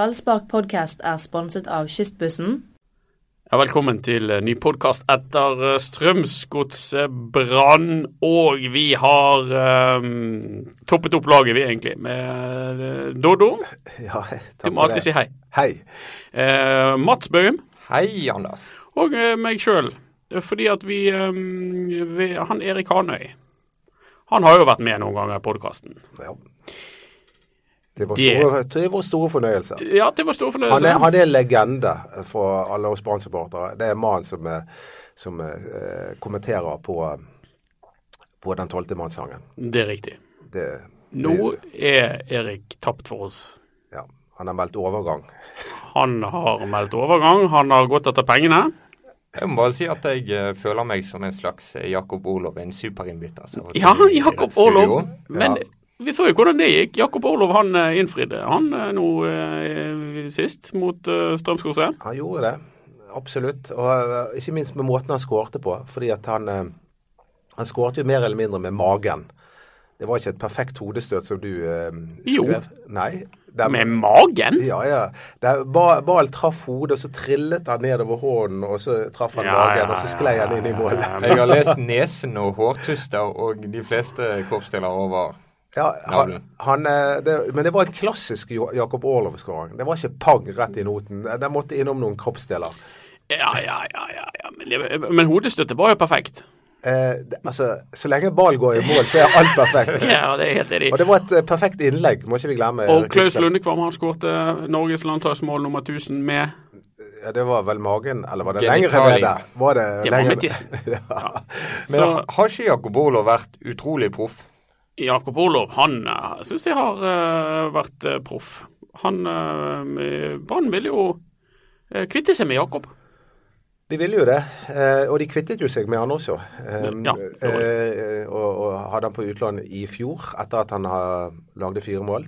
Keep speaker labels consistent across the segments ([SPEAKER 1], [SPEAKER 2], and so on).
[SPEAKER 1] Ballspark podkast er sponset av Kystbussen.
[SPEAKER 2] Ja, velkommen til eh, ny podkast etter eh, Strømsgodset Brann. Og vi har ehm, toppet opp laget, vi egentlig, med eh, Dodo.
[SPEAKER 3] Ja, hei, takk
[SPEAKER 2] Du må alltid si hei.
[SPEAKER 3] Hei.
[SPEAKER 2] Eh, Mats Baum
[SPEAKER 4] Hei, Anders.
[SPEAKER 2] og eh, meg sjøl. Fordi at vi, ehm, vi Han Erik Hanøy. Han har jo vært med noen ganger i podkasten.
[SPEAKER 3] Ja. Det var,
[SPEAKER 2] Det-
[SPEAKER 3] store, det var store fornøyelse.
[SPEAKER 2] Ja, til vår store
[SPEAKER 3] Han er,
[SPEAKER 2] fornøyelse.
[SPEAKER 3] han er en legende for alle oss Brann-supportere. Det er mannen som, eh, som eh, kommenterer på, på den tolvte mannssangen.
[SPEAKER 2] Det er riktig.
[SPEAKER 3] Det,
[SPEAKER 2] Nå er Erik tapt for oss.
[SPEAKER 3] ja, han har meldt overgang.
[SPEAKER 2] Han har meldt overgang, han har gått etter pengene.
[SPEAKER 4] Jeg må bare si at jeg eh, føler meg som en slags eh, Jakob Olov, en superinnbytter. som har vært
[SPEAKER 2] Ja,
[SPEAKER 4] i- i
[SPEAKER 2] Jakob
[SPEAKER 4] dette studio.
[SPEAKER 2] Orlov. Men
[SPEAKER 3] Ja.
[SPEAKER 2] vi så jo hvordan det gikk. Jakob Orlov han eh, innfridde han eh, nå eh, sist mot eh, Strømsgodset.
[SPEAKER 3] Han gjorde det, absolutt. Og eh, ikke minst med måten han skårte på. Fordi at han, eh, han skårte jo mer eller mindre med magen. Det var ikke et perfekt hodestøt som du eh,
[SPEAKER 2] Jo.
[SPEAKER 3] skrev. Nei. den-
[SPEAKER 2] Med magen!
[SPEAKER 3] Ja, ja. Der, ba, ball traff hodet, og så trillet han nedover hånden, og så traff han
[SPEAKER 2] Ja,
[SPEAKER 3] magen,
[SPEAKER 2] ja,
[SPEAKER 3] og så sklei han inn i målet.
[SPEAKER 4] Jeg har lest nesen og hårtuster og de fleste kroppsdeler over.
[SPEAKER 3] Ja, han,
[SPEAKER 4] Navlen.
[SPEAKER 3] han, eh, det, men det var et klassisk Jo- Jakob Orlov-skåring. Det var ikke pang rett i noten. Den måtte innom noen kroppsdeler.
[SPEAKER 2] Ja, ja, ja. ja, ja. Men, det- men hodestøtet var jo perfekt.
[SPEAKER 3] Eh, det, altså, så lenge ball går i mål, så er alt perfekt.
[SPEAKER 2] Ja, det er helt enig.
[SPEAKER 3] Og det eh, var et eh, perfekt innlegg, må ikke vi glemme.
[SPEAKER 2] Og Klaus
[SPEAKER 3] Kristian.
[SPEAKER 2] Lundekvam han skårte Norges landslagsmål nummer 1000 med
[SPEAKER 3] Ja, det var vel magen, eller var det
[SPEAKER 4] Genitalia.
[SPEAKER 3] lengre nede? Var det,
[SPEAKER 2] Det var
[SPEAKER 3] lengre-
[SPEAKER 2] med tissen.
[SPEAKER 3] ja.
[SPEAKER 4] Men
[SPEAKER 2] Så
[SPEAKER 4] har ikke Jakob Olov vært utrolig proff?
[SPEAKER 2] Jakob Orlov han eh, syns jeg har eh, vært eh, proff. Han eh, Brann ville jo eh, kvitte seg med Jakob.
[SPEAKER 3] De ville jo det, eh, og de kvittet jo seg med han også. Eh,
[SPEAKER 2] Ja, det var
[SPEAKER 3] eh, og, og hadde han på utlandet i fjor, etter at han har- lagde fire mål.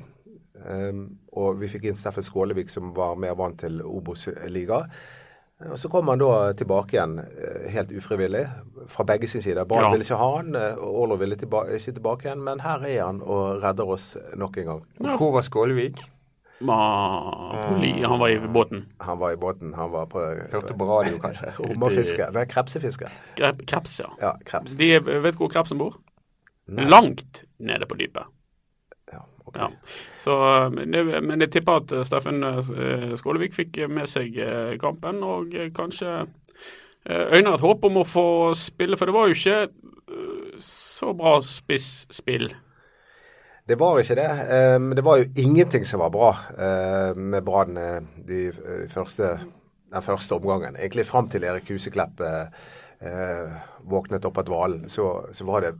[SPEAKER 3] Eh, og vi fikk inn Steffen Skålevik, som var mer vant til Obos-liga. Eh, Og så kom han da tilbake igjen, eh, helt ufrivillig, fra begge sine sider. Brann
[SPEAKER 2] Ja.
[SPEAKER 3] ville ikke ha han, eh, og Orlov ville tilba ikke tilbake igjen, men her er han og redder oss nok en gang.
[SPEAKER 2] Ja. altså-
[SPEAKER 4] Hvor var Skålevik?
[SPEAKER 2] Ma, poli, han var i båten.
[SPEAKER 3] Han var i båten, han var på eh,
[SPEAKER 4] Hørte på radio, kanskje.
[SPEAKER 3] hummerfiske, nei, krepsefiske.
[SPEAKER 2] Grep, kreps, ja.
[SPEAKER 3] Ja, kreps.
[SPEAKER 2] De vet hvor krepsen bor? Langt nede på dypet.
[SPEAKER 3] Ja, ok.
[SPEAKER 2] Ja. Så, eh, men det- men jeg tipper at eh, Steffen eh, Skålevik fikk eh, med seg eh, kampen, og eh, kanskje eh, øyner et håp om å få spille, for det var jo ikke eh, så bra spisspill.
[SPEAKER 3] Det var ikke det. Eh, Men det var jo ingenting som var bra eh, med Brann eh, de eh, første, den første omgangen. Egentlig fram til Erik Huseklepp eh, eh, våknet opp av dvalen, så, så var det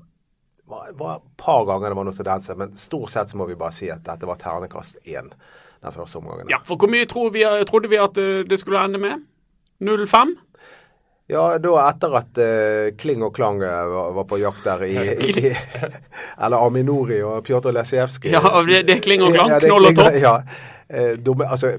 [SPEAKER 3] var, var et par ganger det var noen tendenser. Men stort sett så må vi bare si at dette var ternekast én den første omgangen.
[SPEAKER 2] Ja, for hvor mye tror vi, trodde vi at eh, det skulle ende med? 0-5?
[SPEAKER 3] Ja, da etter at eh, Kling og Klang eh, var, var på jakt der i, i Eller Aminori og Pjotr Lesijevskij.
[SPEAKER 2] Ja, det- det er Kling og Klang,
[SPEAKER 3] det er
[SPEAKER 2] Knoll og
[SPEAKER 3] Kling
[SPEAKER 2] Tott.
[SPEAKER 3] Ja. Eh, dumme, altså,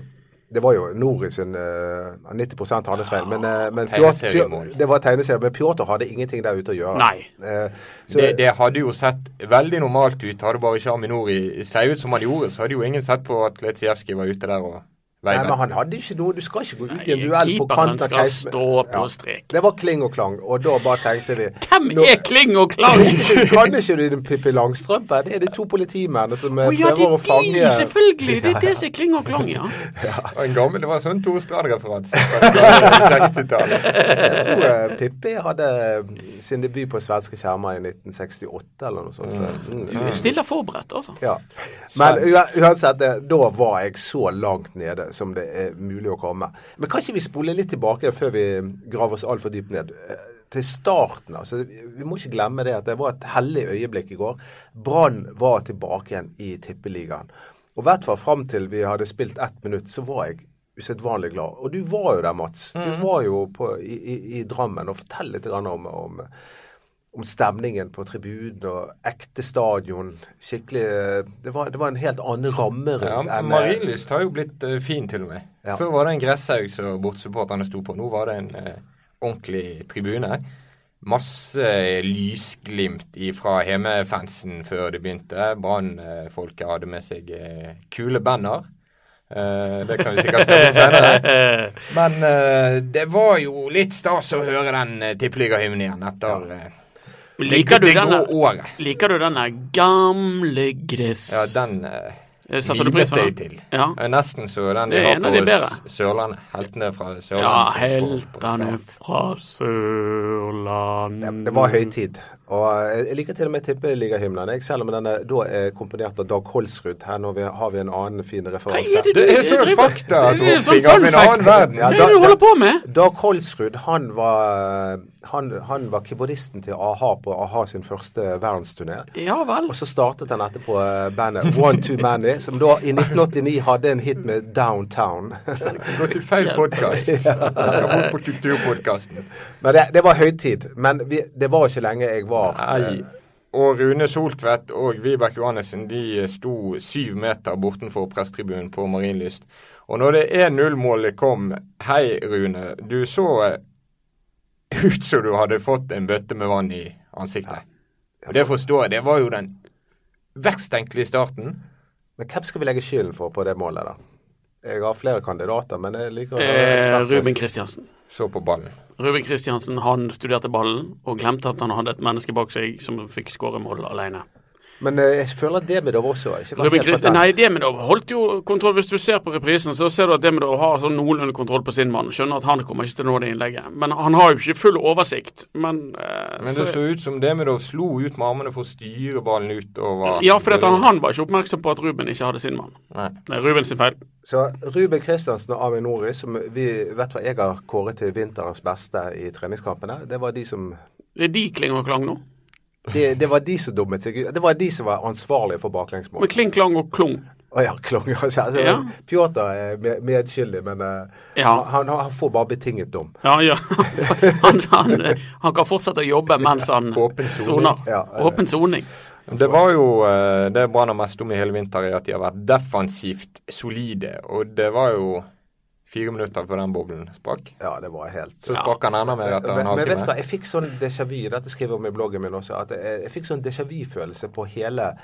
[SPEAKER 3] det var jo Nori sin eh, 90 av hans feil, men, eh, men Pjotr,
[SPEAKER 4] Tegneseriemål.
[SPEAKER 3] det var tegneserie. Men Pjotr hadde ingenting der ute å gjøre.
[SPEAKER 2] Nei.
[SPEAKER 3] Eh, så,
[SPEAKER 4] Det, det hadde jo sett veldig normalt ut. Hadde bare ikke Aminori sleiet ut som han gjorde, så hadde jo ingen sett på at Letsijevskij var ute der og
[SPEAKER 3] nei, men
[SPEAKER 4] veivet.
[SPEAKER 3] han hadde ikke noe Du skal ikke gå ut i en
[SPEAKER 2] Nei,
[SPEAKER 3] duell på
[SPEAKER 2] keeperen
[SPEAKER 3] kant av
[SPEAKER 2] skal
[SPEAKER 3] Keisme-
[SPEAKER 2] stå på strek.
[SPEAKER 3] Det var Kling og Klang, og da bare tenkte vi
[SPEAKER 2] Hvem
[SPEAKER 3] nå-
[SPEAKER 2] er Kling og Klang?
[SPEAKER 3] kan ikke du den Pippi Langstrømpe? Det er de to politimennene som eh,
[SPEAKER 2] Å ja, det
[SPEAKER 3] prøver å
[SPEAKER 2] er de,
[SPEAKER 3] fange
[SPEAKER 2] selvfølgelig! Det er det som er Kling og Klang, ja.
[SPEAKER 4] Og en gammel, Det var sånn Torstrand-referanse fra 60-tallet.
[SPEAKER 3] Jeg tror eh, Pippi hadde mm, sin debut på svenske skjermer i 1968 eller noe sånt. så- Mm.
[SPEAKER 2] Du stiller forberedt, altså.
[SPEAKER 3] Ja. Men ua- uansett, eh, da var jeg så langt nede som det er mulig å komme. Men kan ikke vi spole litt tilbake før vi graver oss altfor dypt ned? Eh, Til starten, altså. Vi må ikke glemme det at det var et hellig øyeblikk i går. Brann var tilbake igjen i Tippeligaen. Og i hvert fall fram til vi hadde spilt ett minutt, så var jeg usedvanlig glad. Og du var jo der, Mats. Du var jo på, i, i, i Drammen. Og fortell litt grann om, om om stemningen på tribunen og ekte stadion. Skikkelig eh, Det var, det var en helt annen ramme
[SPEAKER 4] Ja,
[SPEAKER 3] rundt. enn, eh,
[SPEAKER 4] Marienlyst har jo blitt eh, fin til og med.
[SPEAKER 3] Ja.
[SPEAKER 4] Før var det en gresshaug som bortsupporterne sto på. Nå var det en eh, ordentlig tribune. Masse lysglimt ifra hjemmefansen før det begynte. Brann-folket hadde med seg eh, kule banner. Eh, det kan vi sikkert spørre om senere. Men eh, det var jo litt stas å høre den eh, tippeligahymnen igjen etter eh,
[SPEAKER 2] Liker du
[SPEAKER 4] det, det
[SPEAKER 2] den
[SPEAKER 4] grå
[SPEAKER 2] der-
[SPEAKER 4] året.
[SPEAKER 2] Liker du den der gamle gress?
[SPEAKER 4] Ja, den eh,
[SPEAKER 2] Eh, Setter du pris på
[SPEAKER 4] limet
[SPEAKER 2] den?
[SPEAKER 4] jeg til.
[SPEAKER 2] Ja.
[SPEAKER 4] Eh, Nesten så den
[SPEAKER 2] Det
[SPEAKER 4] de
[SPEAKER 2] er
[SPEAKER 4] har
[SPEAKER 2] en
[SPEAKER 4] på
[SPEAKER 2] av de bedre.
[SPEAKER 4] S- Sørlandet. Heltene fra
[SPEAKER 2] Ja,
[SPEAKER 4] Sørlandet. på- på- på
[SPEAKER 2] heltene
[SPEAKER 4] Sørlandet.
[SPEAKER 2] fra Sørland
[SPEAKER 3] Ja, Det var høytid. Og eh, jeg liker til og med tippeligahymnen, jeg, selv om den er da er komponert av Dag Holsrud. Her nå vi- har vi en annen fin
[SPEAKER 2] Hva
[SPEAKER 3] referanse.
[SPEAKER 2] er det du
[SPEAKER 4] Det er sånn
[SPEAKER 2] driver-
[SPEAKER 4] fakta at
[SPEAKER 2] Det er
[SPEAKER 4] du
[SPEAKER 2] sånn
[SPEAKER 4] oppbygger
[SPEAKER 2] fun
[SPEAKER 4] en
[SPEAKER 2] fact.
[SPEAKER 4] annen verden.
[SPEAKER 2] Hva
[SPEAKER 3] Ja,
[SPEAKER 2] er
[SPEAKER 3] da-
[SPEAKER 2] det du holder på med?
[SPEAKER 3] Dag Kolsrud han var, eh, han, han var keyboardisten til a-ha på a-ha sin første verdensturné.
[SPEAKER 2] Ja vel.
[SPEAKER 3] Og så startet han etterpå eh, bandet One Too Many, som da i 1989 hadde en hit med Downtown.
[SPEAKER 4] Gå til feil podkast. Jeg skal bort på Kulturpodkasten.
[SPEAKER 3] Men det, det var høytid. Men vi, det var ikke lenge jeg var eh,
[SPEAKER 4] Nei. Eh, Og Rune Soltvedt og Vibeke Johannessen de sto syv meter bortenfor presstribunen på Marienlyst. Og når det 1-0-målet kom Hei, Rune. Du så eh, ut som du hadde fått en bøtte med vann i ansiktet. Og det forstår jeg. Det var jo den verst tenkelige starten.
[SPEAKER 3] Men hvem skal vi legge skylden for på det målet, da? Jeg har flere kandidater, men jeg liker å
[SPEAKER 2] Eh, Ruben Kristiansen.
[SPEAKER 4] Så på ballen.
[SPEAKER 2] Ruben Kristiansen han studerte ballen og glemte at han hadde et menneske bak seg som fikk skåre mål alene.
[SPEAKER 3] Men eh, jeg føler at Demidov også ikke var
[SPEAKER 2] Ruben
[SPEAKER 3] helt
[SPEAKER 2] Christi
[SPEAKER 3] patent.
[SPEAKER 2] Nei, Demidov holdt jo kontroll. Hvis du ser på reprisen, så ser du at Demidov har sånn noenlunde kontroll på sin mann. Skjønner at han kommer ikke til å nå det innlegget. Men han har jo ikke full oversikt. Men, eh,
[SPEAKER 4] Men
[SPEAKER 2] så-
[SPEAKER 4] det så ut som Demidov slo ut med armene for å styre ballen utover
[SPEAKER 2] Ja, for dette, han var ikke oppmerksom på at Ruben ikke hadde sin mann.
[SPEAKER 4] Nei.
[SPEAKER 2] Det er Ruben sin feil.
[SPEAKER 3] Så Ruben Kristiansen og Amin Nori, som vi vet hva jeg har kåret til vinterens beste i treningskampene, det var de som
[SPEAKER 2] Det er de Kling og Klang nå.
[SPEAKER 3] det, det var de som dummet seg ut. Det var de som var ansvarlige for baklengsmål.
[SPEAKER 2] Men Kling, Klang og Klung.
[SPEAKER 3] Å ja, klonger. Altså, altså,
[SPEAKER 2] Ja.
[SPEAKER 3] Pjotr er med- medskyldig, men eh,
[SPEAKER 2] Ja.
[SPEAKER 3] han, han, han får bare betinget dom.
[SPEAKER 2] Ja, ja. Han, han, eh, han kan fortsette å jobbe mens han
[SPEAKER 4] Åpen soning.
[SPEAKER 2] soner.
[SPEAKER 3] Ja, eh.
[SPEAKER 2] Åpen soning.
[SPEAKER 4] Det var jo eh, det Brann har mest om i hele vinter, er at de har vært defensivt solide. Og det var jo fire minutter før den boblen sprakk.
[SPEAKER 3] Ja, det var helt
[SPEAKER 4] Så
[SPEAKER 2] Ja.
[SPEAKER 4] sprakk han enda mer etter
[SPEAKER 3] men,
[SPEAKER 4] en
[SPEAKER 3] men vet du hva,
[SPEAKER 4] halvtime.
[SPEAKER 3] jeg fikk sånn déjà vu, dette skriver jeg om i bloggen min også, at jeg, jeg fikk sånn déjà vu-følelse på hele,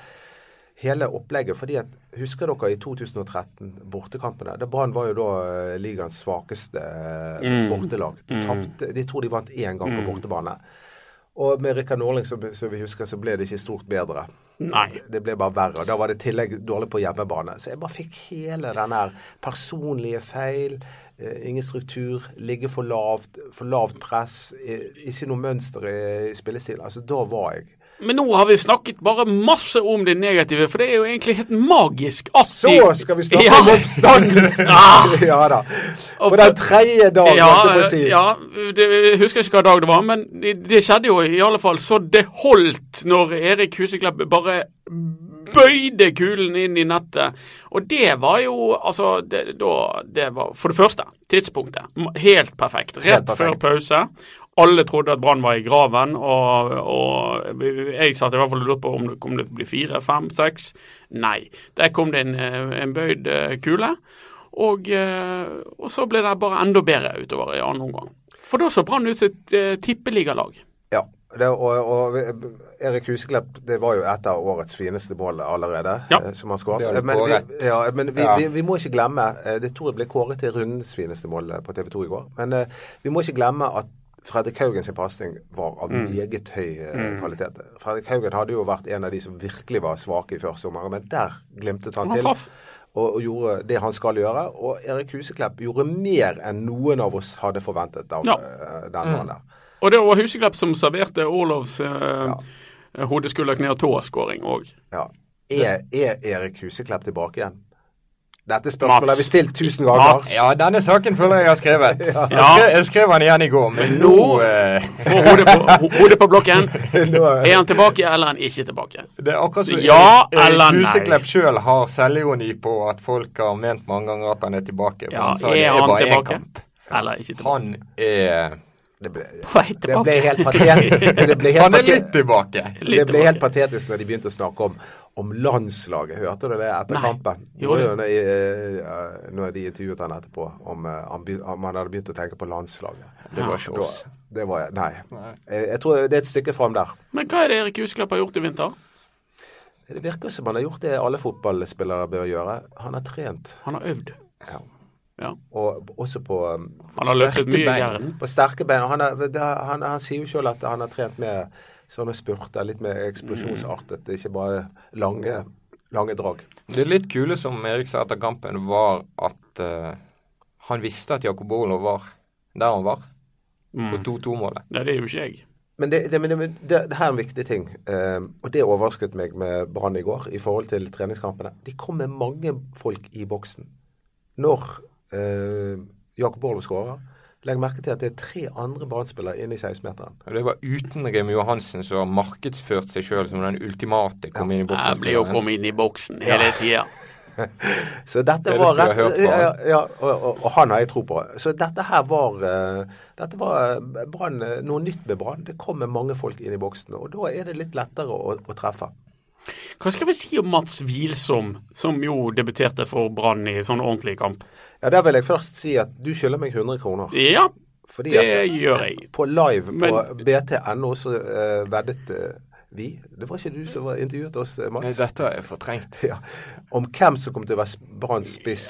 [SPEAKER 3] hele opplegget. fordi at, Husker dere i 2013, bortekampene? da Brann var jo da eh, ligaens svakeste
[SPEAKER 4] Mm.
[SPEAKER 3] eh, bortelag. De, tapte, de tror de vant én gang på bortebane. Og med Rikard Norling, som, som vi husker, så ble det ikke stort bedre.
[SPEAKER 2] Nei.
[SPEAKER 3] Det ble bare verre. og Da var det i tillegg dårlig på hjemmebane. Så jeg bare fikk hele den her personlige feil, eh, ingen struktur, ligge for lavt, for lavt press, eh, ikke noe mønster i, i spillestil. Altså, da var jeg
[SPEAKER 2] Men nå har vi snakket bare masse om det negative, for det er jo egentlig helt magisk at
[SPEAKER 3] Så skal vi snakke om oppstandelsen!
[SPEAKER 2] Ah!
[SPEAKER 3] ja da.
[SPEAKER 2] Og
[SPEAKER 3] På
[SPEAKER 2] for-
[SPEAKER 3] den tredje dagen,
[SPEAKER 2] Ja,
[SPEAKER 3] holdt jeg på å si.
[SPEAKER 2] ja det, jeg husker ikke hva dag det var, men det, det skjedde jo i alle fall så det holdt når Erik Huseklepp bare bøyde kulen inn i nettet. Og det var jo altså det, da, det var For det første, tidspunktet. m- Helt perfekt. Rett
[SPEAKER 3] Helt perfekt.
[SPEAKER 2] før pause. Alle trodde at Brann var i graven, og, og jeg satt i hvert fall og lurte på om det kom det til å bli fire, fem, seks. Nei. Der kom det en, eh, en bøyd eh, kule. Og, eh, og så ble det bare enda bedre utover i annen omgang. For da så Brann ut som et eh, tippeligalag.
[SPEAKER 3] Ja, det, og, og Erik Huseklepp det var jo et av årets fineste mål allerede.
[SPEAKER 2] Ja.
[SPEAKER 3] eh, Som han skåret.
[SPEAKER 4] Det har du
[SPEAKER 3] Men, vi,
[SPEAKER 4] kåret.
[SPEAKER 3] ja, men vi,
[SPEAKER 4] Ja.
[SPEAKER 3] vi, vi må ikke glemme eh, Det tror jeg ble kåret til rundens fineste mål eh, på TV 2 i går. Men eh, vi må ikke glemme at Fredrik Haugen sin pasning var
[SPEAKER 2] Mm.
[SPEAKER 3] av meget høy eh, kvalitet. Fredrik Haugen hadde jo vært en av de som virkelig var svake i første omgang, men der glimtet han,
[SPEAKER 2] Han
[SPEAKER 3] til.
[SPEAKER 2] traff.
[SPEAKER 3] Og, og gjorde det han skal gjøre. Og Erik Huseklepp gjorde mer enn noen av oss hadde forventet av
[SPEAKER 2] Ja. Mm.
[SPEAKER 3] eh, den mannen der.
[SPEAKER 2] Og det var Huseklepp som serverte Orlovs eh, hode, skulder, kne og tå-skåring òg.
[SPEAKER 3] Ja. Er, er Erik Huseklepp tilbake igjen? Dette spørsmålet har vi stilt tusen ganger.
[SPEAKER 2] Mats.
[SPEAKER 4] Ja, denne saken føler jeg jeg har skrevet. Jeg, skrev, jeg skrev han igjen i går, men nå
[SPEAKER 2] Nå-
[SPEAKER 4] eh,
[SPEAKER 2] Få hodet på, ho- hodet på blokken.
[SPEAKER 3] Nå-
[SPEAKER 2] Er han tilbake, eller er han ikke tilbake?
[SPEAKER 4] Det er akkurat som
[SPEAKER 2] Ja
[SPEAKER 4] Erik- Erik
[SPEAKER 2] eller nei?
[SPEAKER 4] Huseklepp sjøl har selvironi på at folk har ment mange ganger at han er tilbake. men
[SPEAKER 2] Ja,
[SPEAKER 4] sa det
[SPEAKER 2] er
[SPEAKER 4] bare
[SPEAKER 2] han
[SPEAKER 4] en
[SPEAKER 2] tilbake?
[SPEAKER 4] kamp.
[SPEAKER 2] Eller ikke tilbake?
[SPEAKER 4] Han er
[SPEAKER 3] Det ble,
[SPEAKER 2] På vei
[SPEAKER 3] det ble
[SPEAKER 2] tilbake.
[SPEAKER 3] helt patetisk. Det ble helt,
[SPEAKER 4] Han er litt
[SPEAKER 3] patet,
[SPEAKER 4] tilbake.
[SPEAKER 2] Litt
[SPEAKER 3] det ble helt
[SPEAKER 2] tilbake.
[SPEAKER 3] patetisk når de begynte å snakke om, om landslaget. Hørte du det etter
[SPEAKER 2] Nei.
[SPEAKER 3] kampen? Det
[SPEAKER 2] Gjorde
[SPEAKER 3] var
[SPEAKER 2] du?
[SPEAKER 3] jo når, jeg, eh, når de intervjuet han etterpå, om, eh, han be- om han hadde begynt å tenke på landslaget.
[SPEAKER 4] Det var ikke
[SPEAKER 3] Da,
[SPEAKER 4] oss.
[SPEAKER 3] det var Nei.
[SPEAKER 4] Nei.
[SPEAKER 3] Jeg, jeg tror det er et stykke fram der.
[SPEAKER 2] Men hva er det Erik Huseklepp har gjort i vinter?
[SPEAKER 3] Det virker som han har gjort det alle fotballspillere bør gjøre. Han har trent.
[SPEAKER 2] Han har øvd.
[SPEAKER 3] Ja.
[SPEAKER 2] Ja.
[SPEAKER 3] Og også på um,
[SPEAKER 2] Han har løftet
[SPEAKER 3] sterke
[SPEAKER 2] mye i
[SPEAKER 3] bein.
[SPEAKER 2] hjernen.
[SPEAKER 3] På sterke bein. Og han, har- det, har- han, han sier jo selv at han har trent med sånne spurter, litt mer eksplosjonsartet, ikke bare lange, lange drag.
[SPEAKER 4] Det litt kule som Erik sa etter kampen, var at eh, han visste at Jakob Olo var der han var, på
[SPEAKER 2] Mm.
[SPEAKER 4] 2-2-målet.
[SPEAKER 2] Nei, det er jo ikke jeg.
[SPEAKER 3] Men det, det, men det, men det, det her er en viktig ting, eh, og det overrasket meg med Brann i går i forhold til treningskampene. De kom med mange folk i boksen. Når eh, Jakob Borlov skårer, legg merke til at det er tre andre Brann-spillere inne i 16-meteren.
[SPEAKER 4] Og Det var uten Remi Johansen som har markedsført seg sjøl som den ultimate kom inn i boksen.
[SPEAKER 2] Jeg blir jo kommet inn i boksen hele tida.
[SPEAKER 3] Så dette
[SPEAKER 4] Det er det
[SPEAKER 3] var
[SPEAKER 4] som vi har
[SPEAKER 3] rett,
[SPEAKER 4] hørt på
[SPEAKER 3] ja,
[SPEAKER 4] han.
[SPEAKER 3] ja, ja, og, og, og han har jeg tro på. Så dette her var, eh, dette var eh, Brann, eh, noe nytt med Brann. Det kom med mange folk inn i boksen, og da er det litt lettere å, å treffe.
[SPEAKER 2] Hva skal vi si om Mats Wilsom, som jo debuterte for Brann i sånn ordentlig kamp?
[SPEAKER 3] Ja, Der vil jeg først si at du skylder meg 100 kroner.
[SPEAKER 2] Ja,
[SPEAKER 3] Fordi
[SPEAKER 2] det
[SPEAKER 3] at
[SPEAKER 2] gjør jeg.
[SPEAKER 3] på live på
[SPEAKER 2] Men-
[SPEAKER 3] BT.no så eh, veddet eh, vi Det var ikke du som var intervjuet oss, eh, Mats?
[SPEAKER 4] Dette har jeg fortrengt.
[SPEAKER 3] Ja, om hvem som kom til å være s- Branns spiss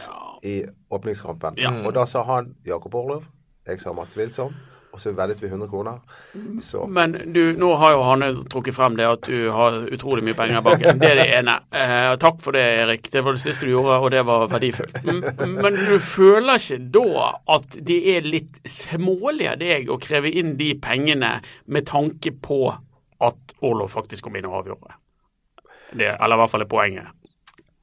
[SPEAKER 3] i åpningskampen.
[SPEAKER 2] Ja.
[SPEAKER 3] Og da sa han Jakob Orlov, jeg sa Mats Wilsom, og så veddet vi 100 kroner.
[SPEAKER 2] Mm.
[SPEAKER 3] Så
[SPEAKER 2] Men du, nå har jo Hanne trukket frem det at du har utrolig mye penger bak deg. Det er det ene. Eh, takk for det, Erik. Det var det siste du gjorde, og det var verdifullt. M- Men du føler ikke da at det er litt smålig av deg å kreve inn de pengene med tanke på at Orlov faktisk kom inn og avgjorde? Det, eller i hvert fall er poenget.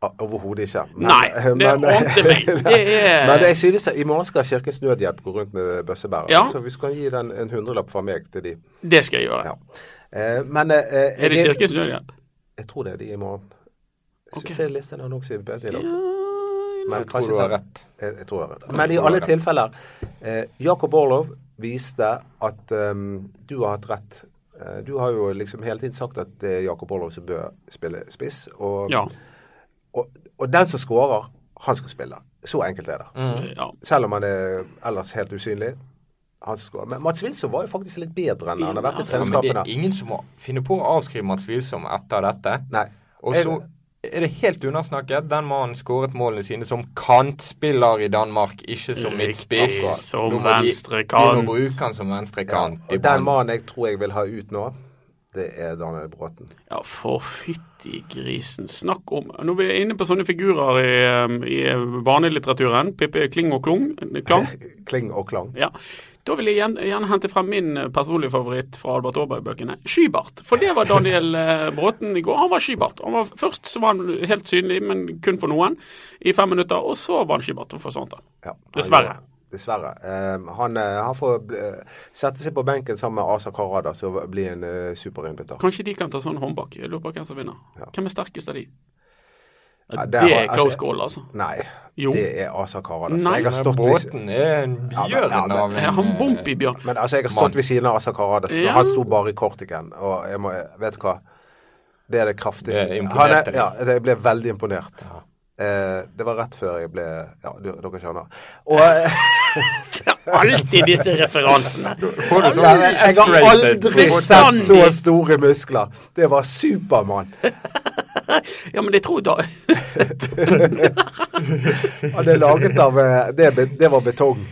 [SPEAKER 3] o- overhodet ikke.
[SPEAKER 2] Nei, det ante meg. Det er
[SPEAKER 3] Men jeg synes at i morgen skal Kirkens Nødhjelp gå rundt med bøssebærer,
[SPEAKER 2] Ja.
[SPEAKER 3] så vi skal gi den en hundrelapp fra meg til de.
[SPEAKER 2] Det skal jeg gjøre.
[SPEAKER 3] Ja. Eh, men eh,
[SPEAKER 2] Er det
[SPEAKER 3] jeg-
[SPEAKER 2] Kirkens Nødhjelp?
[SPEAKER 3] Jeg tror det er de i morgen. Jeg
[SPEAKER 2] Ok.
[SPEAKER 3] synes jeg listen har nok sivet bedre i dag. Men
[SPEAKER 4] Jeg
[SPEAKER 3] kanskje
[SPEAKER 4] tror du har
[SPEAKER 3] ta-
[SPEAKER 4] rett.
[SPEAKER 3] Jeg, jeg tror jeg har rett.
[SPEAKER 4] Jeg
[SPEAKER 3] Men i
[SPEAKER 4] tror du
[SPEAKER 3] alle
[SPEAKER 4] har rett.
[SPEAKER 3] tilfeller eh, Jakob Orlov viste at ehm, du har hatt rett. Eh, du har jo liksom hele tiden sagt at det er Jakob Orlov som bør spille spiss. Og,
[SPEAKER 2] Ja.
[SPEAKER 3] og, og den som skårer, han skal spille. Så enkelt er det.
[SPEAKER 4] Mm.
[SPEAKER 2] ja.
[SPEAKER 3] Selv om han er ellers helt usynlig. Han som scorer. Men Mats Wilson var jo faktisk litt bedre enn han har vært
[SPEAKER 2] Ja,
[SPEAKER 3] i
[SPEAKER 4] Ja, men det
[SPEAKER 3] treningskampene.
[SPEAKER 4] er ingen som må finne på å avskrive Mats Wilsom etter dette.
[SPEAKER 3] Nei.
[SPEAKER 4] Og
[SPEAKER 3] Jeg-
[SPEAKER 4] så er det helt unnsnakket. Den mannen skåret målene sine som kantspiller i Danmark, ikke som
[SPEAKER 2] Riktig,
[SPEAKER 4] midtspiss.
[SPEAKER 2] som
[SPEAKER 4] Nå må de
[SPEAKER 2] venstre
[SPEAKER 4] begynne
[SPEAKER 2] kant.
[SPEAKER 4] å bruke han som venstre
[SPEAKER 3] Ja,
[SPEAKER 4] kant. i
[SPEAKER 3] og den
[SPEAKER 4] banen.
[SPEAKER 3] mannen jeg tror jeg vil ha ut nå, det er Daniel Bråten.
[SPEAKER 2] Ja, for fytti grisen. Snakk om Når vi er inne på sånne figurer i, eh, i barnelitteraturen, Pippi Kling og Klung, Klang,
[SPEAKER 3] Kling og klang.
[SPEAKER 2] ja. da vil jeg gjerne, gjerne hente frem min eh, personlige favoritt fra Albert Aaberg-bøkene, Skybart. For det var Daniel eh, Bråten i går. Han var skybart. Han var, først så var han helt synlig, men kun for noen, i fem minutter. Og så var han skybart og forsvant. han.
[SPEAKER 3] Ja, han
[SPEAKER 2] Dessverre.
[SPEAKER 3] gjør det. Dessverre. Eh, han, eh, han får eh, sette seg på benken sammen med Asa Karada, som blir en uh, superinnbytter.
[SPEAKER 2] Kanskje de kan ta sånn håndbak. Jeg lurer på hvem som vinner.
[SPEAKER 3] Ja.
[SPEAKER 2] Hvem er sterkest av de? Ja,
[SPEAKER 3] Ja, det
[SPEAKER 2] det
[SPEAKER 3] har-
[SPEAKER 2] er close
[SPEAKER 3] altså-
[SPEAKER 2] call, altså.
[SPEAKER 3] Nei,
[SPEAKER 2] Jo.
[SPEAKER 3] det er Asa Karada.
[SPEAKER 2] Nei.
[SPEAKER 3] jeg har
[SPEAKER 4] Men
[SPEAKER 3] stått ved,
[SPEAKER 4] Båten er en
[SPEAKER 3] Ja, men- ja,
[SPEAKER 4] bjørn
[SPEAKER 3] men-
[SPEAKER 4] av en
[SPEAKER 2] Er han
[SPEAKER 4] eh,
[SPEAKER 2] Bompibjørn?
[SPEAKER 3] men altså, jeg har
[SPEAKER 4] Mann.
[SPEAKER 3] stått ved siden av Asa Karada. så
[SPEAKER 2] Ja.
[SPEAKER 3] Han sto bare i kortiken, og jeg må Vet du hva? Det er det kraftigste.
[SPEAKER 4] Det er imponert,
[SPEAKER 3] Han er-
[SPEAKER 4] eller?
[SPEAKER 3] ja, det- jeg ble veldig imponert. Eh, det var rett før jeg ble Ja, du- dere skjønner. Og eh,
[SPEAKER 2] Alltid disse referansene.
[SPEAKER 4] Får du sånn
[SPEAKER 3] Ja, men jeg har
[SPEAKER 4] X-rated
[SPEAKER 3] aldri
[SPEAKER 4] på-
[SPEAKER 3] sett så store muskler. Det var Supermann.
[SPEAKER 2] Ja, men det tror jeg da.
[SPEAKER 3] Og det er laget av eh, Det, er be- det var betong.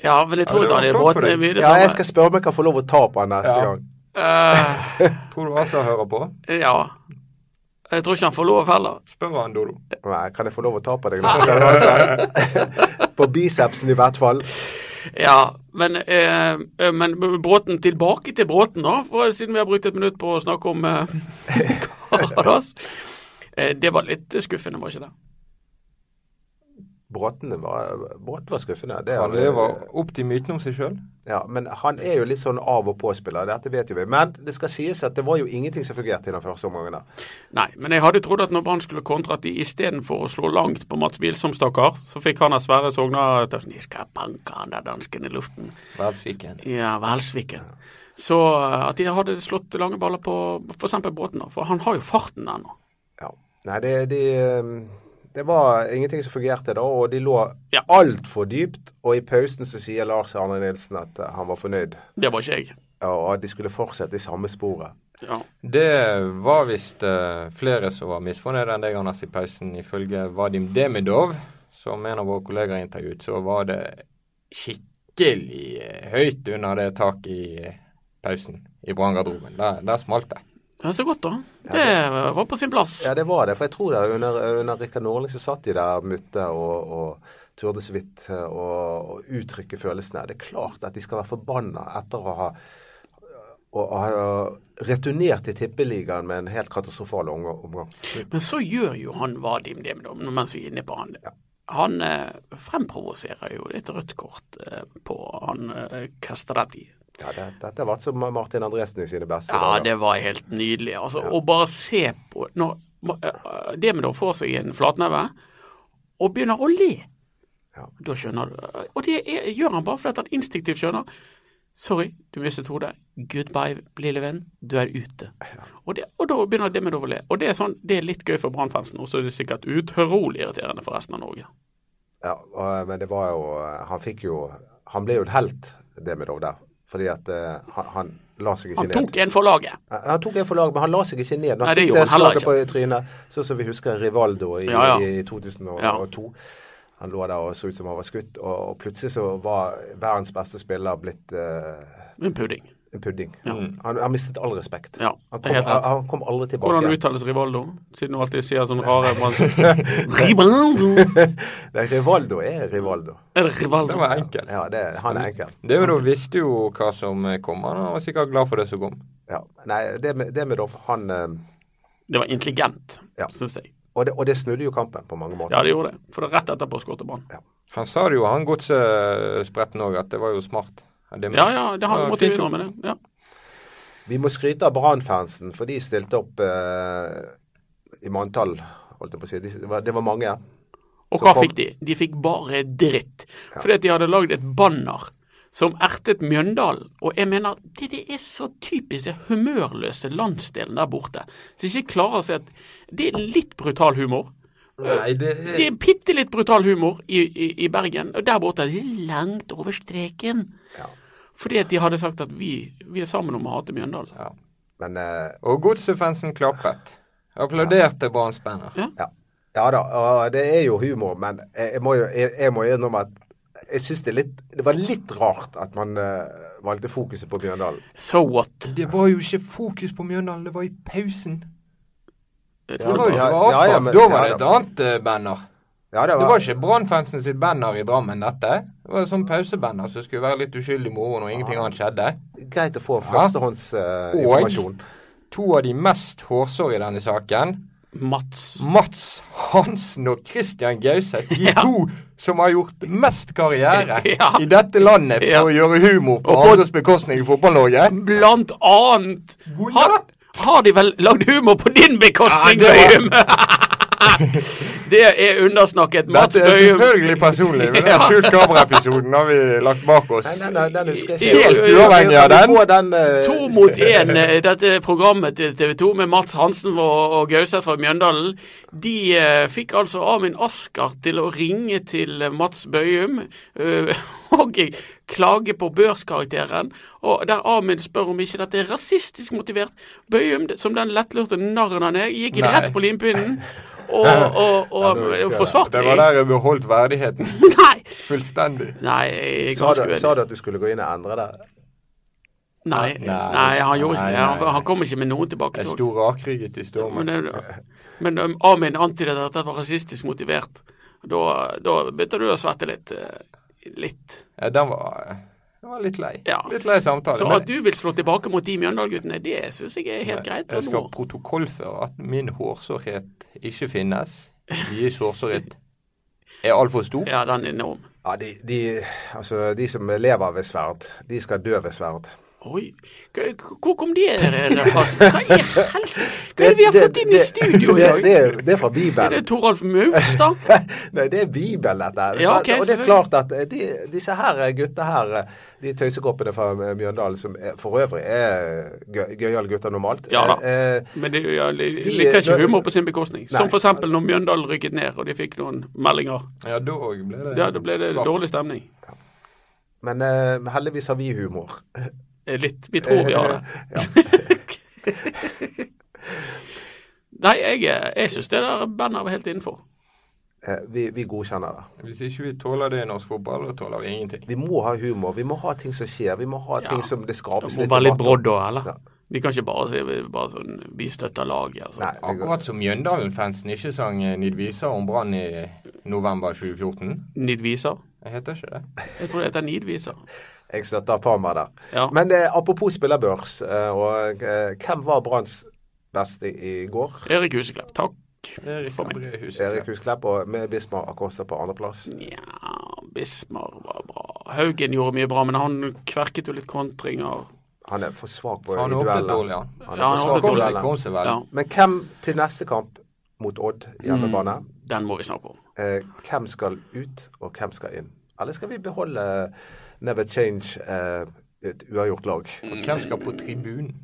[SPEAKER 2] Ja, men jeg tror
[SPEAKER 4] Ja, det var
[SPEAKER 2] Daniel
[SPEAKER 4] flott for
[SPEAKER 2] Bråten er
[SPEAKER 4] deg.
[SPEAKER 2] mye det
[SPEAKER 3] Ja,
[SPEAKER 2] samme.
[SPEAKER 3] jeg skal spørre om jeg kan få lov å ta på han neste
[SPEAKER 4] Ja.
[SPEAKER 3] gang.
[SPEAKER 2] Eh,
[SPEAKER 4] Tror du Asa hører på?
[SPEAKER 2] ja. Jeg tror ikke han får lov heller.
[SPEAKER 4] Spør han, Dodo.
[SPEAKER 3] Nei, kan jeg få lov å ta på deg nå? på bicepsen i hvert fall.
[SPEAKER 2] Ja, men, eh, eh, men Bråten tilbake til Bråten, da. For eh, siden vi har brukt et minutt på å snakke om eh, Karadas. Eh, det var litt skuffende, var ikke det?
[SPEAKER 3] Bråten var, Bråten var skuffende. Det er
[SPEAKER 4] Han lever opp til myten om seg sjøl.
[SPEAKER 3] Ja, men han er jo litt sånn av og på-spiller. Dette vet jo vi. Men det skal sies at det var jo ingenting som fungerte i den første omgangen. der.
[SPEAKER 2] Nei, men jeg hadde trodd at når Brann skulle kontre at de istedenfor å slå langt på Mats Wilsom, stakkar, så fikk han av Sverre Sogna tøften. Jeg skal banke han der dansken i luften.
[SPEAKER 4] Verdensviken.
[SPEAKER 2] Ja, Velsviken. Så eh, at de hadde slått lange baller på f.eks. Bråten, da. For han har jo farten ennå.
[SPEAKER 3] Ja. Nei, det, de, eh, det var ingenting som fungerte da, og de lå
[SPEAKER 2] Ja.
[SPEAKER 3] altfor dypt. Og i pausen så sier Lars Arne Nilsen at eh, han var fornøyd,
[SPEAKER 2] Det var ikke jeg.
[SPEAKER 3] og at de skulle fortsette i samme sporet.
[SPEAKER 2] Ja.
[SPEAKER 4] Det var visst eh, flere som var misfornøyde enn deg, Anders, i pausen. Ifølge Vadim Demidov, som en av våre kollegaer intervjuet, så var det skikkelig eh, høyt under det taket i eh, pausen i branngarderoben. Der, der smalt det.
[SPEAKER 2] ja, så godt, da. Det var på sin plass.
[SPEAKER 3] Ja, det var det. For jeg tror det under, under Rikard Norling så satt de der mutte og, og turde så vidt eh, å å uttrykke følelsene. Det er klart at de skal være forbanna etter å ha, å, å ha returnert til Tippeligaen med en helt katastrofal omga- omgang.
[SPEAKER 2] Men så gjør jo han Vadim det, da, mens vi er inne på han. Han eh, fremprovoserer jo et rødt kort eh, på han eh, Castrati.
[SPEAKER 3] Ja, det, dette har vært som Martin Andresen i sine beste
[SPEAKER 2] Ja,
[SPEAKER 3] dager.
[SPEAKER 2] det var helt nydelig. Altså, Å bare se på når eh, Demidov får seg en flatneve og begynner å le.
[SPEAKER 3] Ja.
[SPEAKER 2] Da skjønner du. eh, Og det er, gjør han bare fordi han instinktivt skjønner. Sorry, du mistet hodet. Goodbye, lille venn. Du er ute. Og, det, og da begynner Demidov å le. Og det er, sånn, det er litt gøy for Brann-fansen, og så er det sikkert utrolig irriterende for resten av Norge.
[SPEAKER 3] Ja, og, eh, men det var jo Han fikk jo Han ble jo en helt, Demidov, der. Fordi at eh, han, han la seg ikke
[SPEAKER 2] Han
[SPEAKER 3] ned.
[SPEAKER 2] tok en for laget.
[SPEAKER 3] Ja, Han tok en for laget, men han la seg ikke ned. Når
[SPEAKER 2] Nei,
[SPEAKER 3] han
[SPEAKER 2] det
[SPEAKER 3] fikk
[SPEAKER 2] gjorde
[SPEAKER 3] det
[SPEAKER 2] han heller
[SPEAKER 3] slaget på trynet, sånn som vi husker Rivaldo i,
[SPEAKER 2] Ja, ja.
[SPEAKER 3] i 2002. Han lå der og så ut som han var skutt, og, og plutselig så var verdens beste spiller blitt eh,
[SPEAKER 2] En pudding.
[SPEAKER 3] en pudding. Han, han mistet all respekt.
[SPEAKER 2] Ja,
[SPEAKER 3] han,
[SPEAKER 2] det er
[SPEAKER 3] kom,
[SPEAKER 2] helt rett.
[SPEAKER 3] han, han kom aldri tilbake.
[SPEAKER 2] Hvordan uttales Rivaldo, siden du alltid sier sånn rare Rivaldo!
[SPEAKER 3] Nei, Rivaldo er Rivaldo.
[SPEAKER 2] Er det Rivaldo?
[SPEAKER 4] Det var enkelt.
[SPEAKER 3] Ja, det, han er enkel.
[SPEAKER 4] Demidov visste jo hva som eh, kom, han var sikkert glad for det som kom.
[SPEAKER 3] Ja. Nei, det med, det med Doff, han eh,
[SPEAKER 2] Det var intelligent,
[SPEAKER 3] Ja.
[SPEAKER 2] synes jeg.
[SPEAKER 3] og, det, og det snudde jo kampen på mange måter.
[SPEAKER 2] Ja, det gjorde det. For det er rett etterpå skåret Brann.
[SPEAKER 4] Han sa det jo, han godsspretten òg, at det var jo smart. Demidov.
[SPEAKER 2] Ja, ja, det har
[SPEAKER 4] Ja,
[SPEAKER 2] ja, måtte
[SPEAKER 4] fint
[SPEAKER 2] vi
[SPEAKER 4] å-
[SPEAKER 2] innrømme det. Ja.
[SPEAKER 3] Vi må skryte av Brann-fansen, for de stilte opp eh, i manntall, holdt jeg på å si. De, det, var, det var mange.
[SPEAKER 2] Og
[SPEAKER 3] Så
[SPEAKER 2] hva
[SPEAKER 3] kom-
[SPEAKER 2] fikk de? De fikk bare dritt. Fordi at de hadde lagd et banner som ertet Mjøndalen. Og jeg mener, det, det er så typisk det humørløse landsdelen der borte. Som ikke klarer å se at Det er litt brutal humor.
[SPEAKER 4] Nei, det
[SPEAKER 2] Det er bitte litt brutal humor i, i, i Bergen, og der borte er det langt over streken.
[SPEAKER 3] Ja.
[SPEAKER 2] Fordi at de hadde sagt at vi, vi er sammen om å hate Mjøndalen.
[SPEAKER 4] ja.
[SPEAKER 3] Men eh,
[SPEAKER 4] Og godsefansen klappet. Applauderte Brann-spennet.
[SPEAKER 2] Ja.
[SPEAKER 3] ja. ja da, og det er jo humor, men jeg, jeg må jo jeg, jeg må innrømme at jeg syns det, er litt- det var litt rart at man eh, valgte fokuset på Bjørndalen.
[SPEAKER 2] So what?
[SPEAKER 4] Det var jo ikke fokus på Mjøndalen, det var i pausen.
[SPEAKER 2] Jeg
[SPEAKER 4] Det
[SPEAKER 2] tror
[SPEAKER 4] var jo
[SPEAKER 3] Ja,
[SPEAKER 4] ikke
[SPEAKER 3] ja, ja,
[SPEAKER 4] avtalt.
[SPEAKER 3] men-
[SPEAKER 4] Da var det
[SPEAKER 3] ja,
[SPEAKER 4] et
[SPEAKER 3] da.
[SPEAKER 4] annet eh, banner.
[SPEAKER 3] Ja, det
[SPEAKER 4] Det
[SPEAKER 3] var,
[SPEAKER 4] var ikke Brann-fansen sitt banner i Drammen, dette. Det var et sånt pausebanner som skulle være litt uskyldig moro når ingenting annet skjedde.
[SPEAKER 3] greit å få førstehåndsinformasjon.
[SPEAKER 4] To av de mest hårsåre i denne saken,
[SPEAKER 2] Mats
[SPEAKER 4] Mats Hansen og Christian Gauseth, de to som har gjort mest karriere
[SPEAKER 2] Ja.
[SPEAKER 4] i dette landet på
[SPEAKER 2] Ja.
[SPEAKER 4] å gjøre humor
[SPEAKER 2] Og
[SPEAKER 4] på
[SPEAKER 2] på-
[SPEAKER 4] andres bekostning i fotball-Norge.
[SPEAKER 2] Blant annet
[SPEAKER 4] God
[SPEAKER 2] har, har de vel lagd humor på din bekostning,
[SPEAKER 4] Ja, det var-
[SPEAKER 2] Bøyum? det er undersnakket. Mats
[SPEAKER 4] Dette er
[SPEAKER 2] Bøyum
[SPEAKER 4] selvfølgelig personlig, men den skjult kamera-episoden har vi lagt bak oss.
[SPEAKER 3] Nei, nei, nei, den husker jeg
[SPEAKER 2] Helt
[SPEAKER 3] Kan vi-
[SPEAKER 4] uavhengig av
[SPEAKER 3] kan vi
[SPEAKER 4] den.
[SPEAKER 3] få den eh,
[SPEAKER 2] to mot én eh, dette programmet til TV 2 med Mats Hansen og, og Gauseth fra Mjøndalen. De eh, fikk altså Armin Asker til å ringe til eh, Mats Bøyum eh, og klage på børskarakteren, og der Armin spør om ikke dette er rasistisk motivert. Bøyum, som den lettlurte narren han er, gikk
[SPEAKER 4] Nei.
[SPEAKER 2] rett på limpinnen. Og, og, og,
[SPEAKER 3] nå husker jeg det.
[SPEAKER 2] forsvarte
[SPEAKER 4] Det var der jeg beholdt verdigheten
[SPEAKER 2] Nei,
[SPEAKER 4] fullstendig.
[SPEAKER 2] nei, jeg er
[SPEAKER 3] sa,
[SPEAKER 2] ganske
[SPEAKER 3] du,
[SPEAKER 2] uenig.
[SPEAKER 3] sa du at du skulle gå inn og endre det?
[SPEAKER 2] Nei,
[SPEAKER 4] Nei.
[SPEAKER 2] nei, han gjorde ikke
[SPEAKER 4] Nei,
[SPEAKER 2] det.
[SPEAKER 4] nei,
[SPEAKER 2] Han,
[SPEAKER 4] nei.
[SPEAKER 2] han kom ikke med noen tilbake.
[SPEAKER 4] Jeg sto rakrygget i
[SPEAKER 2] Men,
[SPEAKER 4] stormen.
[SPEAKER 2] det, men um, Armin antydet at det var rasistisk motivert. Da, da begynte du å svette litt. eh, litt.
[SPEAKER 4] Ja, Den var, den var litt lei.
[SPEAKER 2] Ja.
[SPEAKER 4] Litt lei samtale.
[SPEAKER 2] Så
[SPEAKER 4] men
[SPEAKER 2] at du vil slå tilbake mot de Mjøndalen-guttene, det syns jeg er helt greit.
[SPEAKER 4] jeg
[SPEAKER 2] Og
[SPEAKER 4] skal
[SPEAKER 2] nå,
[SPEAKER 4] protokollføre at min hårsårhet ikke finnes. Deres hårsårhet er altfor stor.
[SPEAKER 2] ja, den er enorm.
[SPEAKER 3] Ja, de, de, altså, de som lever ved sverd, de skal dø ved sverd.
[SPEAKER 2] Oi, k- k- hvor kom de referansene? Hva i helse? Hva er det vi har fått inn i
[SPEAKER 3] det-
[SPEAKER 2] studio i
[SPEAKER 3] det,
[SPEAKER 2] dag?
[SPEAKER 3] det, er- det er fra
[SPEAKER 2] Er det
[SPEAKER 3] Bibelen.
[SPEAKER 2] Toralf Maustad?
[SPEAKER 3] Nei, det er Bibelen, dette. her.
[SPEAKER 2] Ja,
[SPEAKER 3] Så-
[SPEAKER 2] ok,
[SPEAKER 3] og det er
[SPEAKER 2] selvfølgelig.
[SPEAKER 3] klart at eh, de, disse her eh, gutta her, eh, de tøysekoppene fra eh, Mjøndalen, som er, for øvrig er gøy- gøyale gutter normalt
[SPEAKER 2] Ja da.
[SPEAKER 3] eh, eh,
[SPEAKER 2] Men det ja, de
[SPEAKER 3] De-
[SPEAKER 2] liker ikke
[SPEAKER 3] de-
[SPEAKER 2] humor på sin bekostning.
[SPEAKER 3] Nei.
[SPEAKER 2] Som for eksempel når Mjøndalen rykket ned og de fikk noen meldinger.
[SPEAKER 4] Ja, da ble det
[SPEAKER 2] Da da ble det
[SPEAKER 4] svart.
[SPEAKER 2] dårlig stemning.
[SPEAKER 3] Men eh, heldigvis har vi humor.
[SPEAKER 2] Eh, Litt. Vi tror vi har det. Nei, jeg, jeg syns det der bandet var helt innenfor.
[SPEAKER 3] Eh, vi, vi godkjenner det.
[SPEAKER 4] Hvis ikke vi tåler det i norsk fotball, da tåler vi ingenting.
[SPEAKER 3] Vi må ha humor. Vi må ha ting som skjer. Vi må ha
[SPEAKER 2] Ja.
[SPEAKER 3] ting som det
[SPEAKER 2] Det
[SPEAKER 3] skapes
[SPEAKER 2] må være litt
[SPEAKER 3] debatt om.
[SPEAKER 2] brodd òg, eller?
[SPEAKER 3] Ja.
[SPEAKER 2] Vi kan ikke bare si bare sånn, vi støtter laget. Altså.
[SPEAKER 3] Nei, det går.
[SPEAKER 4] Akkurat som Mjøndalen-fansen ikke sang eh, Nidvisa om Brann i november 2014.
[SPEAKER 2] Nidviser.
[SPEAKER 4] Jeg heter ikke det.
[SPEAKER 2] Jeg tror det heter nidviser.
[SPEAKER 3] Jeg støtter Parma der.
[SPEAKER 2] Ja.
[SPEAKER 3] Men eh, apropos spillerbørs, eh, og eh, hvem var Branns beste i går?
[SPEAKER 2] Erik Huseklepp, takk
[SPEAKER 4] Erik
[SPEAKER 2] for meg.
[SPEAKER 4] André Husk.
[SPEAKER 3] Erik Husklepp og med Bismar Akosta på andreplass.
[SPEAKER 2] Nja, Bismar var bra. Haugen gjorde mye bra, men han kverket jo litt kontringer.
[SPEAKER 3] Han er for svak på
[SPEAKER 4] Han
[SPEAKER 3] i
[SPEAKER 4] åpnet
[SPEAKER 3] dueller.
[SPEAKER 4] dårlig, han.
[SPEAKER 3] Han er
[SPEAKER 2] Ja, han
[SPEAKER 3] for
[SPEAKER 2] åpnet
[SPEAKER 3] svak på
[SPEAKER 2] dårlig.
[SPEAKER 4] Kom seg,
[SPEAKER 3] dueller.
[SPEAKER 4] kom seg vel.
[SPEAKER 2] Ja,
[SPEAKER 3] Men hvem til neste kamp mot Odd hjemmebane?
[SPEAKER 2] den må vi snakke om.
[SPEAKER 3] Eh, hvem skal ut, og hvem skal inn? Eller skal vi beholde Never Change, eh, et uavgjort lag?
[SPEAKER 4] Og hvem skal på tribunen?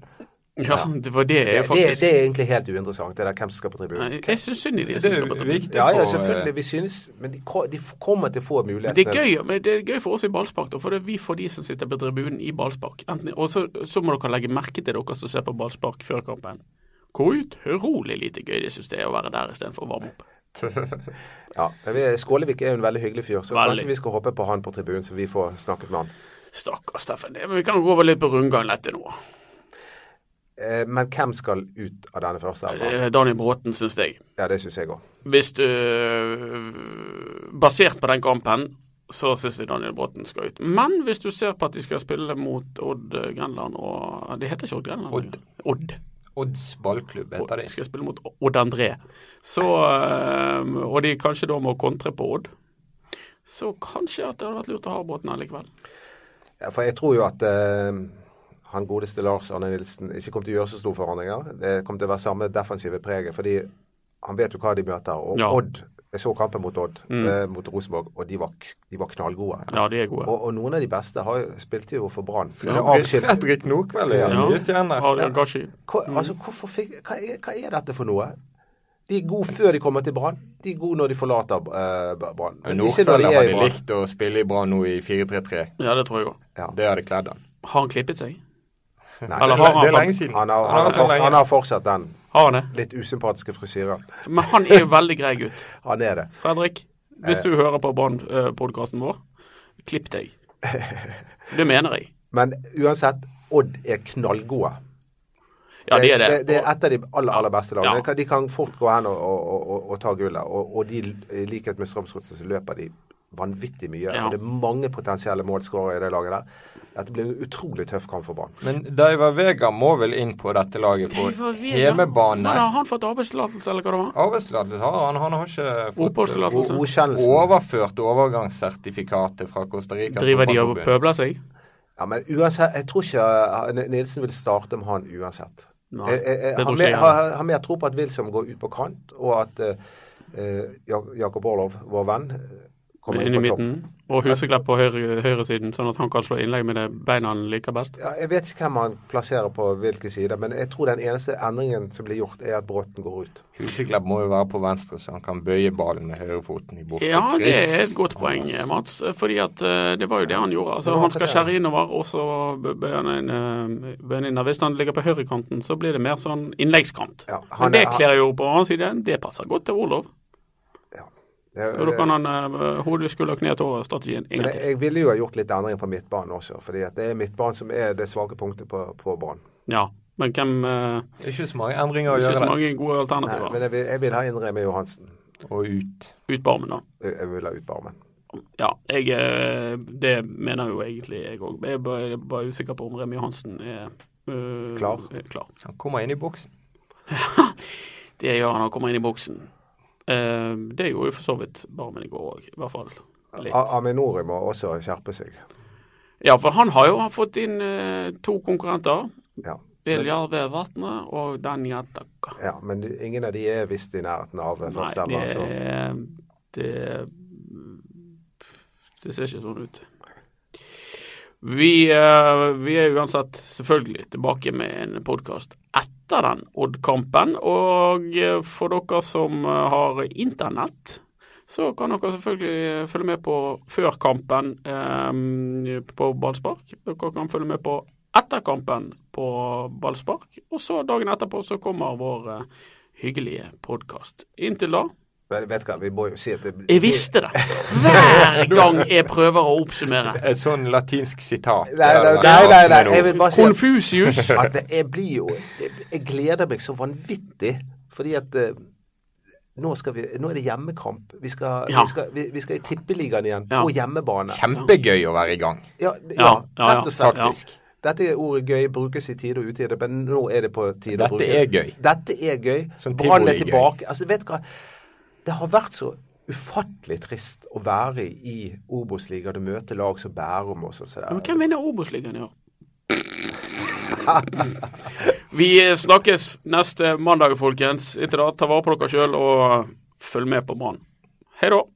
[SPEAKER 2] Ja, det var det jeg
[SPEAKER 3] Det, det
[SPEAKER 2] faktisk
[SPEAKER 3] er egentlig helt uinteressant, det der hvem som skal på tribunen.
[SPEAKER 2] Nei, Jeg syns synd i de
[SPEAKER 4] Det
[SPEAKER 2] som
[SPEAKER 4] er
[SPEAKER 2] skal på
[SPEAKER 4] jo
[SPEAKER 2] tribunen.
[SPEAKER 4] viktig
[SPEAKER 3] Ja, ja,
[SPEAKER 4] for eh,
[SPEAKER 3] selvfølgelig. Vi synes Men de, ko- de f- kommer til å få
[SPEAKER 2] Men
[SPEAKER 3] muligheter.
[SPEAKER 2] Det er, gøy, men det er gøy for oss i ballspark, da, for det er vi får de som sitter på tribunen i ballspark. Enten- Og så, så må dere legge merke til dere som ser på ballspark før kampen. Hvor utrolig lite gøy de syns det er å være der istedenfor å varme opp.
[SPEAKER 3] Ja, men vi- Skålevik er jo en veldig hyggelig fyr, så
[SPEAKER 2] Veldig.
[SPEAKER 3] kanskje vi skal hoppe på han på tribunen, så vi får snakket med han.
[SPEAKER 2] Stakkars Steffen. Det- Men vi kan gå over litt på rundgang lett nå.
[SPEAKER 3] Eh, men hvem skal ut av denne første elva?
[SPEAKER 2] Eh, Daniel Bråten, syns jeg.
[SPEAKER 3] Ja, det syns jeg òg.
[SPEAKER 2] Hvis du øh, Basert på den kampen, så syns jeg Daniel Bråten skal ut. Men hvis du ser på at de skal spille mot Odd eh, Grenland og Det heter ikke Odd Grenland?
[SPEAKER 4] Odd.
[SPEAKER 2] Odd.
[SPEAKER 4] Odds ballklubb heter de.
[SPEAKER 2] skal spille mot Odd André. Så, øhm, og de kanskje da må kontre på Odd. Så kanskje at det hadde vært lurt å ha Bråten allikevel.
[SPEAKER 3] Ja, for jeg tror jo at eh, han godeste Lars Arne Nilsen ikke kommer til å gjøre så store forandringer. Det kommer til å være samme defensive preget, fordi han vet jo hva de møter. Og
[SPEAKER 2] Ja. Mm.
[SPEAKER 3] Odd Jeg så kampen mot Odd, eh, mot Rosenborg, og de var, k- de var knallgode.
[SPEAKER 2] Ja, de er gode.
[SPEAKER 3] Og, og noen av de beste har, jo- spilte jo for Brann. Ja, avskilt.
[SPEAKER 4] Fredrik Nordkveld er den nye stjerne.
[SPEAKER 2] Har Gashi.
[SPEAKER 3] Hva, altså, hvorfor fikk, hva, er, hva er dette for noe? De er gode før de kommer til Brann. De er gode når de forlater eh, Brann. Men ikke når de
[SPEAKER 4] Nordkveld
[SPEAKER 3] er i
[SPEAKER 4] hadde
[SPEAKER 3] Brann.
[SPEAKER 4] likt å spille i Brann nå i 4-3-3.
[SPEAKER 2] Ja, det tror jeg òg.
[SPEAKER 3] Ja.
[SPEAKER 4] Det hadde kledd han.
[SPEAKER 2] Har han klippet seg?
[SPEAKER 3] Nei,
[SPEAKER 2] Eller
[SPEAKER 4] Det
[SPEAKER 2] har han
[SPEAKER 4] det er
[SPEAKER 2] fått-
[SPEAKER 4] lenge siden.
[SPEAKER 3] Han har,
[SPEAKER 4] Han har
[SPEAKER 3] han, har
[SPEAKER 4] vært så
[SPEAKER 3] fort,
[SPEAKER 4] lenge.
[SPEAKER 3] han har fortsatt den
[SPEAKER 2] Har han det?
[SPEAKER 3] litt usympatiske frisyren.
[SPEAKER 2] Men han er jo veldig grei gutt.
[SPEAKER 3] Han er det.
[SPEAKER 2] Fredrik,
[SPEAKER 3] Eh.
[SPEAKER 2] hvis du hører på Brann-podkasten vår, klipp deg. Det mener jeg.
[SPEAKER 3] Men uansett, Odd er knallgode.
[SPEAKER 2] Ja, det er det.
[SPEAKER 3] Det, er et av de aller, aller beste lagene.
[SPEAKER 2] Ja.
[SPEAKER 3] De, kan, de kan fort gå hen og, og, og, og ta gullet. Og, og de, i likhet med Strømsgodset, så løper de vanvittig mye.
[SPEAKER 2] Ja.
[SPEAKER 3] Og det er mange potensielle målskårere i det laget der. Dette blir en utrolig tøff kamp for Brann.
[SPEAKER 4] Men Daiva Vega må vel inn på dette laget på hjemmebane?
[SPEAKER 2] Men har han fått arbeidstillatelse, eller hva det var?
[SPEAKER 4] Arbeidstillatelse har han. Han har ikke fått
[SPEAKER 3] Og
[SPEAKER 2] Oppholdstillatelse?
[SPEAKER 3] godkjennelsen
[SPEAKER 4] overført overgangssertifikatet fra Costa Rica.
[SPEAKER 2] Driver de og
[SPEAKER 4] fotballforbund.
[SPEAKER 2] pøbler seg?
[SPEAKER 3] Ja, men uansett, Jeg tror ikke eh, Nilsen vil starte med han uansett.
[SPEAKER 2] Nei,
[SPEAKER 3] Jeg, jeg,
[SPEAKER 2] det
[SPEAKER 3] jeg, har,
[SPEAKER 2] tror ikke
[SPEAKER 3] mer,
[SPEAKER 2] jeg. heller.
[SPEAKER 3] eh, har, har mer tro på at Wilsom går ut på kant, og at eh, eh, Jak- Jakob Orlov, vår venn, kommer
[SPEAKER 2] Inn i
[SPEAKER 3] inn på topp.
[SPEAKER 2] midten. Og Huseklepp på høyre- høyresiden, sånn at han kan slå innlegg med det beina han liker best.
[SPEAKER 3] Ja, jeg vet ikke hvem han plasserer på hvilke sider, men jeg tror den eneste endringen som blir gjort, er at Bråten går ut.
[SPEAKER 4] Huseklepp må jo være på venstre, så han kan bøye ballen med høyrefoten i bortre
[SPEAKER 2] Ja, det
[SPEAKER 4] kryss.
[SPEAKER 2] er et godt poeng, Mats. Fordi at eh, det var jo det han gjorde. Altså,
[SPEAKER 3] Det var
[SPEAKER 2] han skal
[SPEAKER 3] akkurat det.
[SPEAKER 2] skjære innover, og så bøyer han inn, eh, bøyer han inn. Hvis han ligger på høyrekanten, så blir det mer sånn innleggskant.
[SPEAKER 3] Ja, han
[SPEAKER 2] Men det
[SPEAKER 3] er- han-
[SPEAKER 2] kler jo på hans side. Det passer godt til Olov.
[SPEAKER 3] Jeg,
[SPEAKER 2] Og da kan han eh, hode, skulder, kne, tå-strategien en
[SPEAKER 3] eh, men
[SPEAKER 2] gang
[SPEAKER 3] jeg,
[SPEAKER 2] til.
[SPEAKER 3] jeg ville jo ha gjort litt endringer på midtbanen også, fordi at det er midtbanen som er det svake punktet på, på banen.
[SPEAKER 2] Ja, men hvem eh,
[SPEAKER 4] Det er ikke så mange endringer å
[SPEAKER 2] Ikke så
[SPEAKER 4] gjøre.
[SPEAKER 2] mange gode
[SPEAKER 3] Nei,
[SPEAKER 2] alternativer
[SPEAKER 3] men jeg vil, jeg vil ha inn Remi Johansen.
[SPEAKER 4] Og ut.
[SPEAKER 2] ut på armen, da.
[SPEAKER 3] Jeg jeg vil ha ut på armen.
[SPEAKER 2] Ja, jeg, eh, det mener jo egentlig jeg òg. Jeg er bare, jeg er bare usikker på om Remi Johansen er eh,
[SPEAKER 3] Klar.
[SPEAKER 2] er klar.
[SPEAKER 4] Han kommer inn i boksen.
[SPEAKER 2] Det gjør han, han kommer inn i boksen. Eh, det gjorde jo for så vidt Barmen i går òg, i hvert fall. Litt.
[SPEAKER 3] A- Aminori må også skjerpe seg.
[SPEAKER 2] Ja, for han har jo fått inn eh, to konkurrenter.
[SPEAKER 3] Ja.
[SPEAKER 2] Viljar Vevatnet og Danja Takka.
[SPEAKER 3] Ja, men du- ingen av de er visst i nærheten av eh,
[SPEAKER 2] Nei,
[SPEAKER 3] førsteelver.
[SPEAKER 2] det,
[SPEAKER 3] så-
[SPEAKER 2] er- det Det ser ikke sånn ut. Vi, eh, vi er uansett selvfølgelig tilbake med en podkast etter den Odd-kampen. Og eh, for dere som eh, har internett, så kan dere selvfølgelig eh, følge med på før kampen eh, på ballspark. Dere kan følge med på etter kampen på ballspark. Og så dagen etterpå så kommer vår eh, hyggelige podkast. Inntil da
[SPEAKER 3] Men vet du hva, vi må jo si at det,
[SPEAKER 2] Jeg visste det! Hver gang jeg prøver å oppsummere.
[SPEAKER 4] Et sånn latinsk sitat.
[SPEAKER 3] Nei, nei,
[SPEAKER 4] eller
[SPEAKER 3] nei, nei, nei,
[SPEAKER 4] avsnitt
[SPEAKER 3] jeg vil bare si at-
[SPEAKER 2] Konfusius.
[SPEAKER 3] at det, jeg blir jo jeg, jeg gleder meg så vanvittig, fordi at eh, nå, skal vi, nå er det hjemmekamp. Vi skal,
[SPEAKER 2] Ja.
[SPEAKER 3] vi skal, vi, vi skal i Tippeligaen igjen,
[SPEAKER 2] Ja.
[SPEAKER 3] på hjemmebane.
[SPEAKER 4] Kjempegøy å være i gang,
[SPEAKER 3] Ja, ja,
[SPEAKER 2] Ja, ja, ja,
[SPEAKER 3] rett og slett.
[SPEAKER 4] faktisk.
[SPEAKER 3] Dette er ordet gøy brukes i tide og utide, men nå er det på tide å
[SPEAKER 4] Dette
[SPEAKER 3] bruke
[SPEAKER 4] er gøy.
[SPEAKER 3] Dette er gøy.
[SPEAKER 4] Som
[SPEAKER 3] Brann er
[SPEAKER 4] tivoli-gøy.
[SPEAKER 3] tilbake. Altså, vet du hva? Det har vært så ufattelig trist å være i Obos-ligaen og møte lag som Bærum og sånn. Så
[SPEAKER 2] Men
[SPEAKER 3] der.
[SPEAKER 2] hvem vinner Obos-ligaen i år? Vi eh, snakkes neste mandag, folkens. Inntil da, ta vare på dere sjøl og følg med på Brann. Hei da.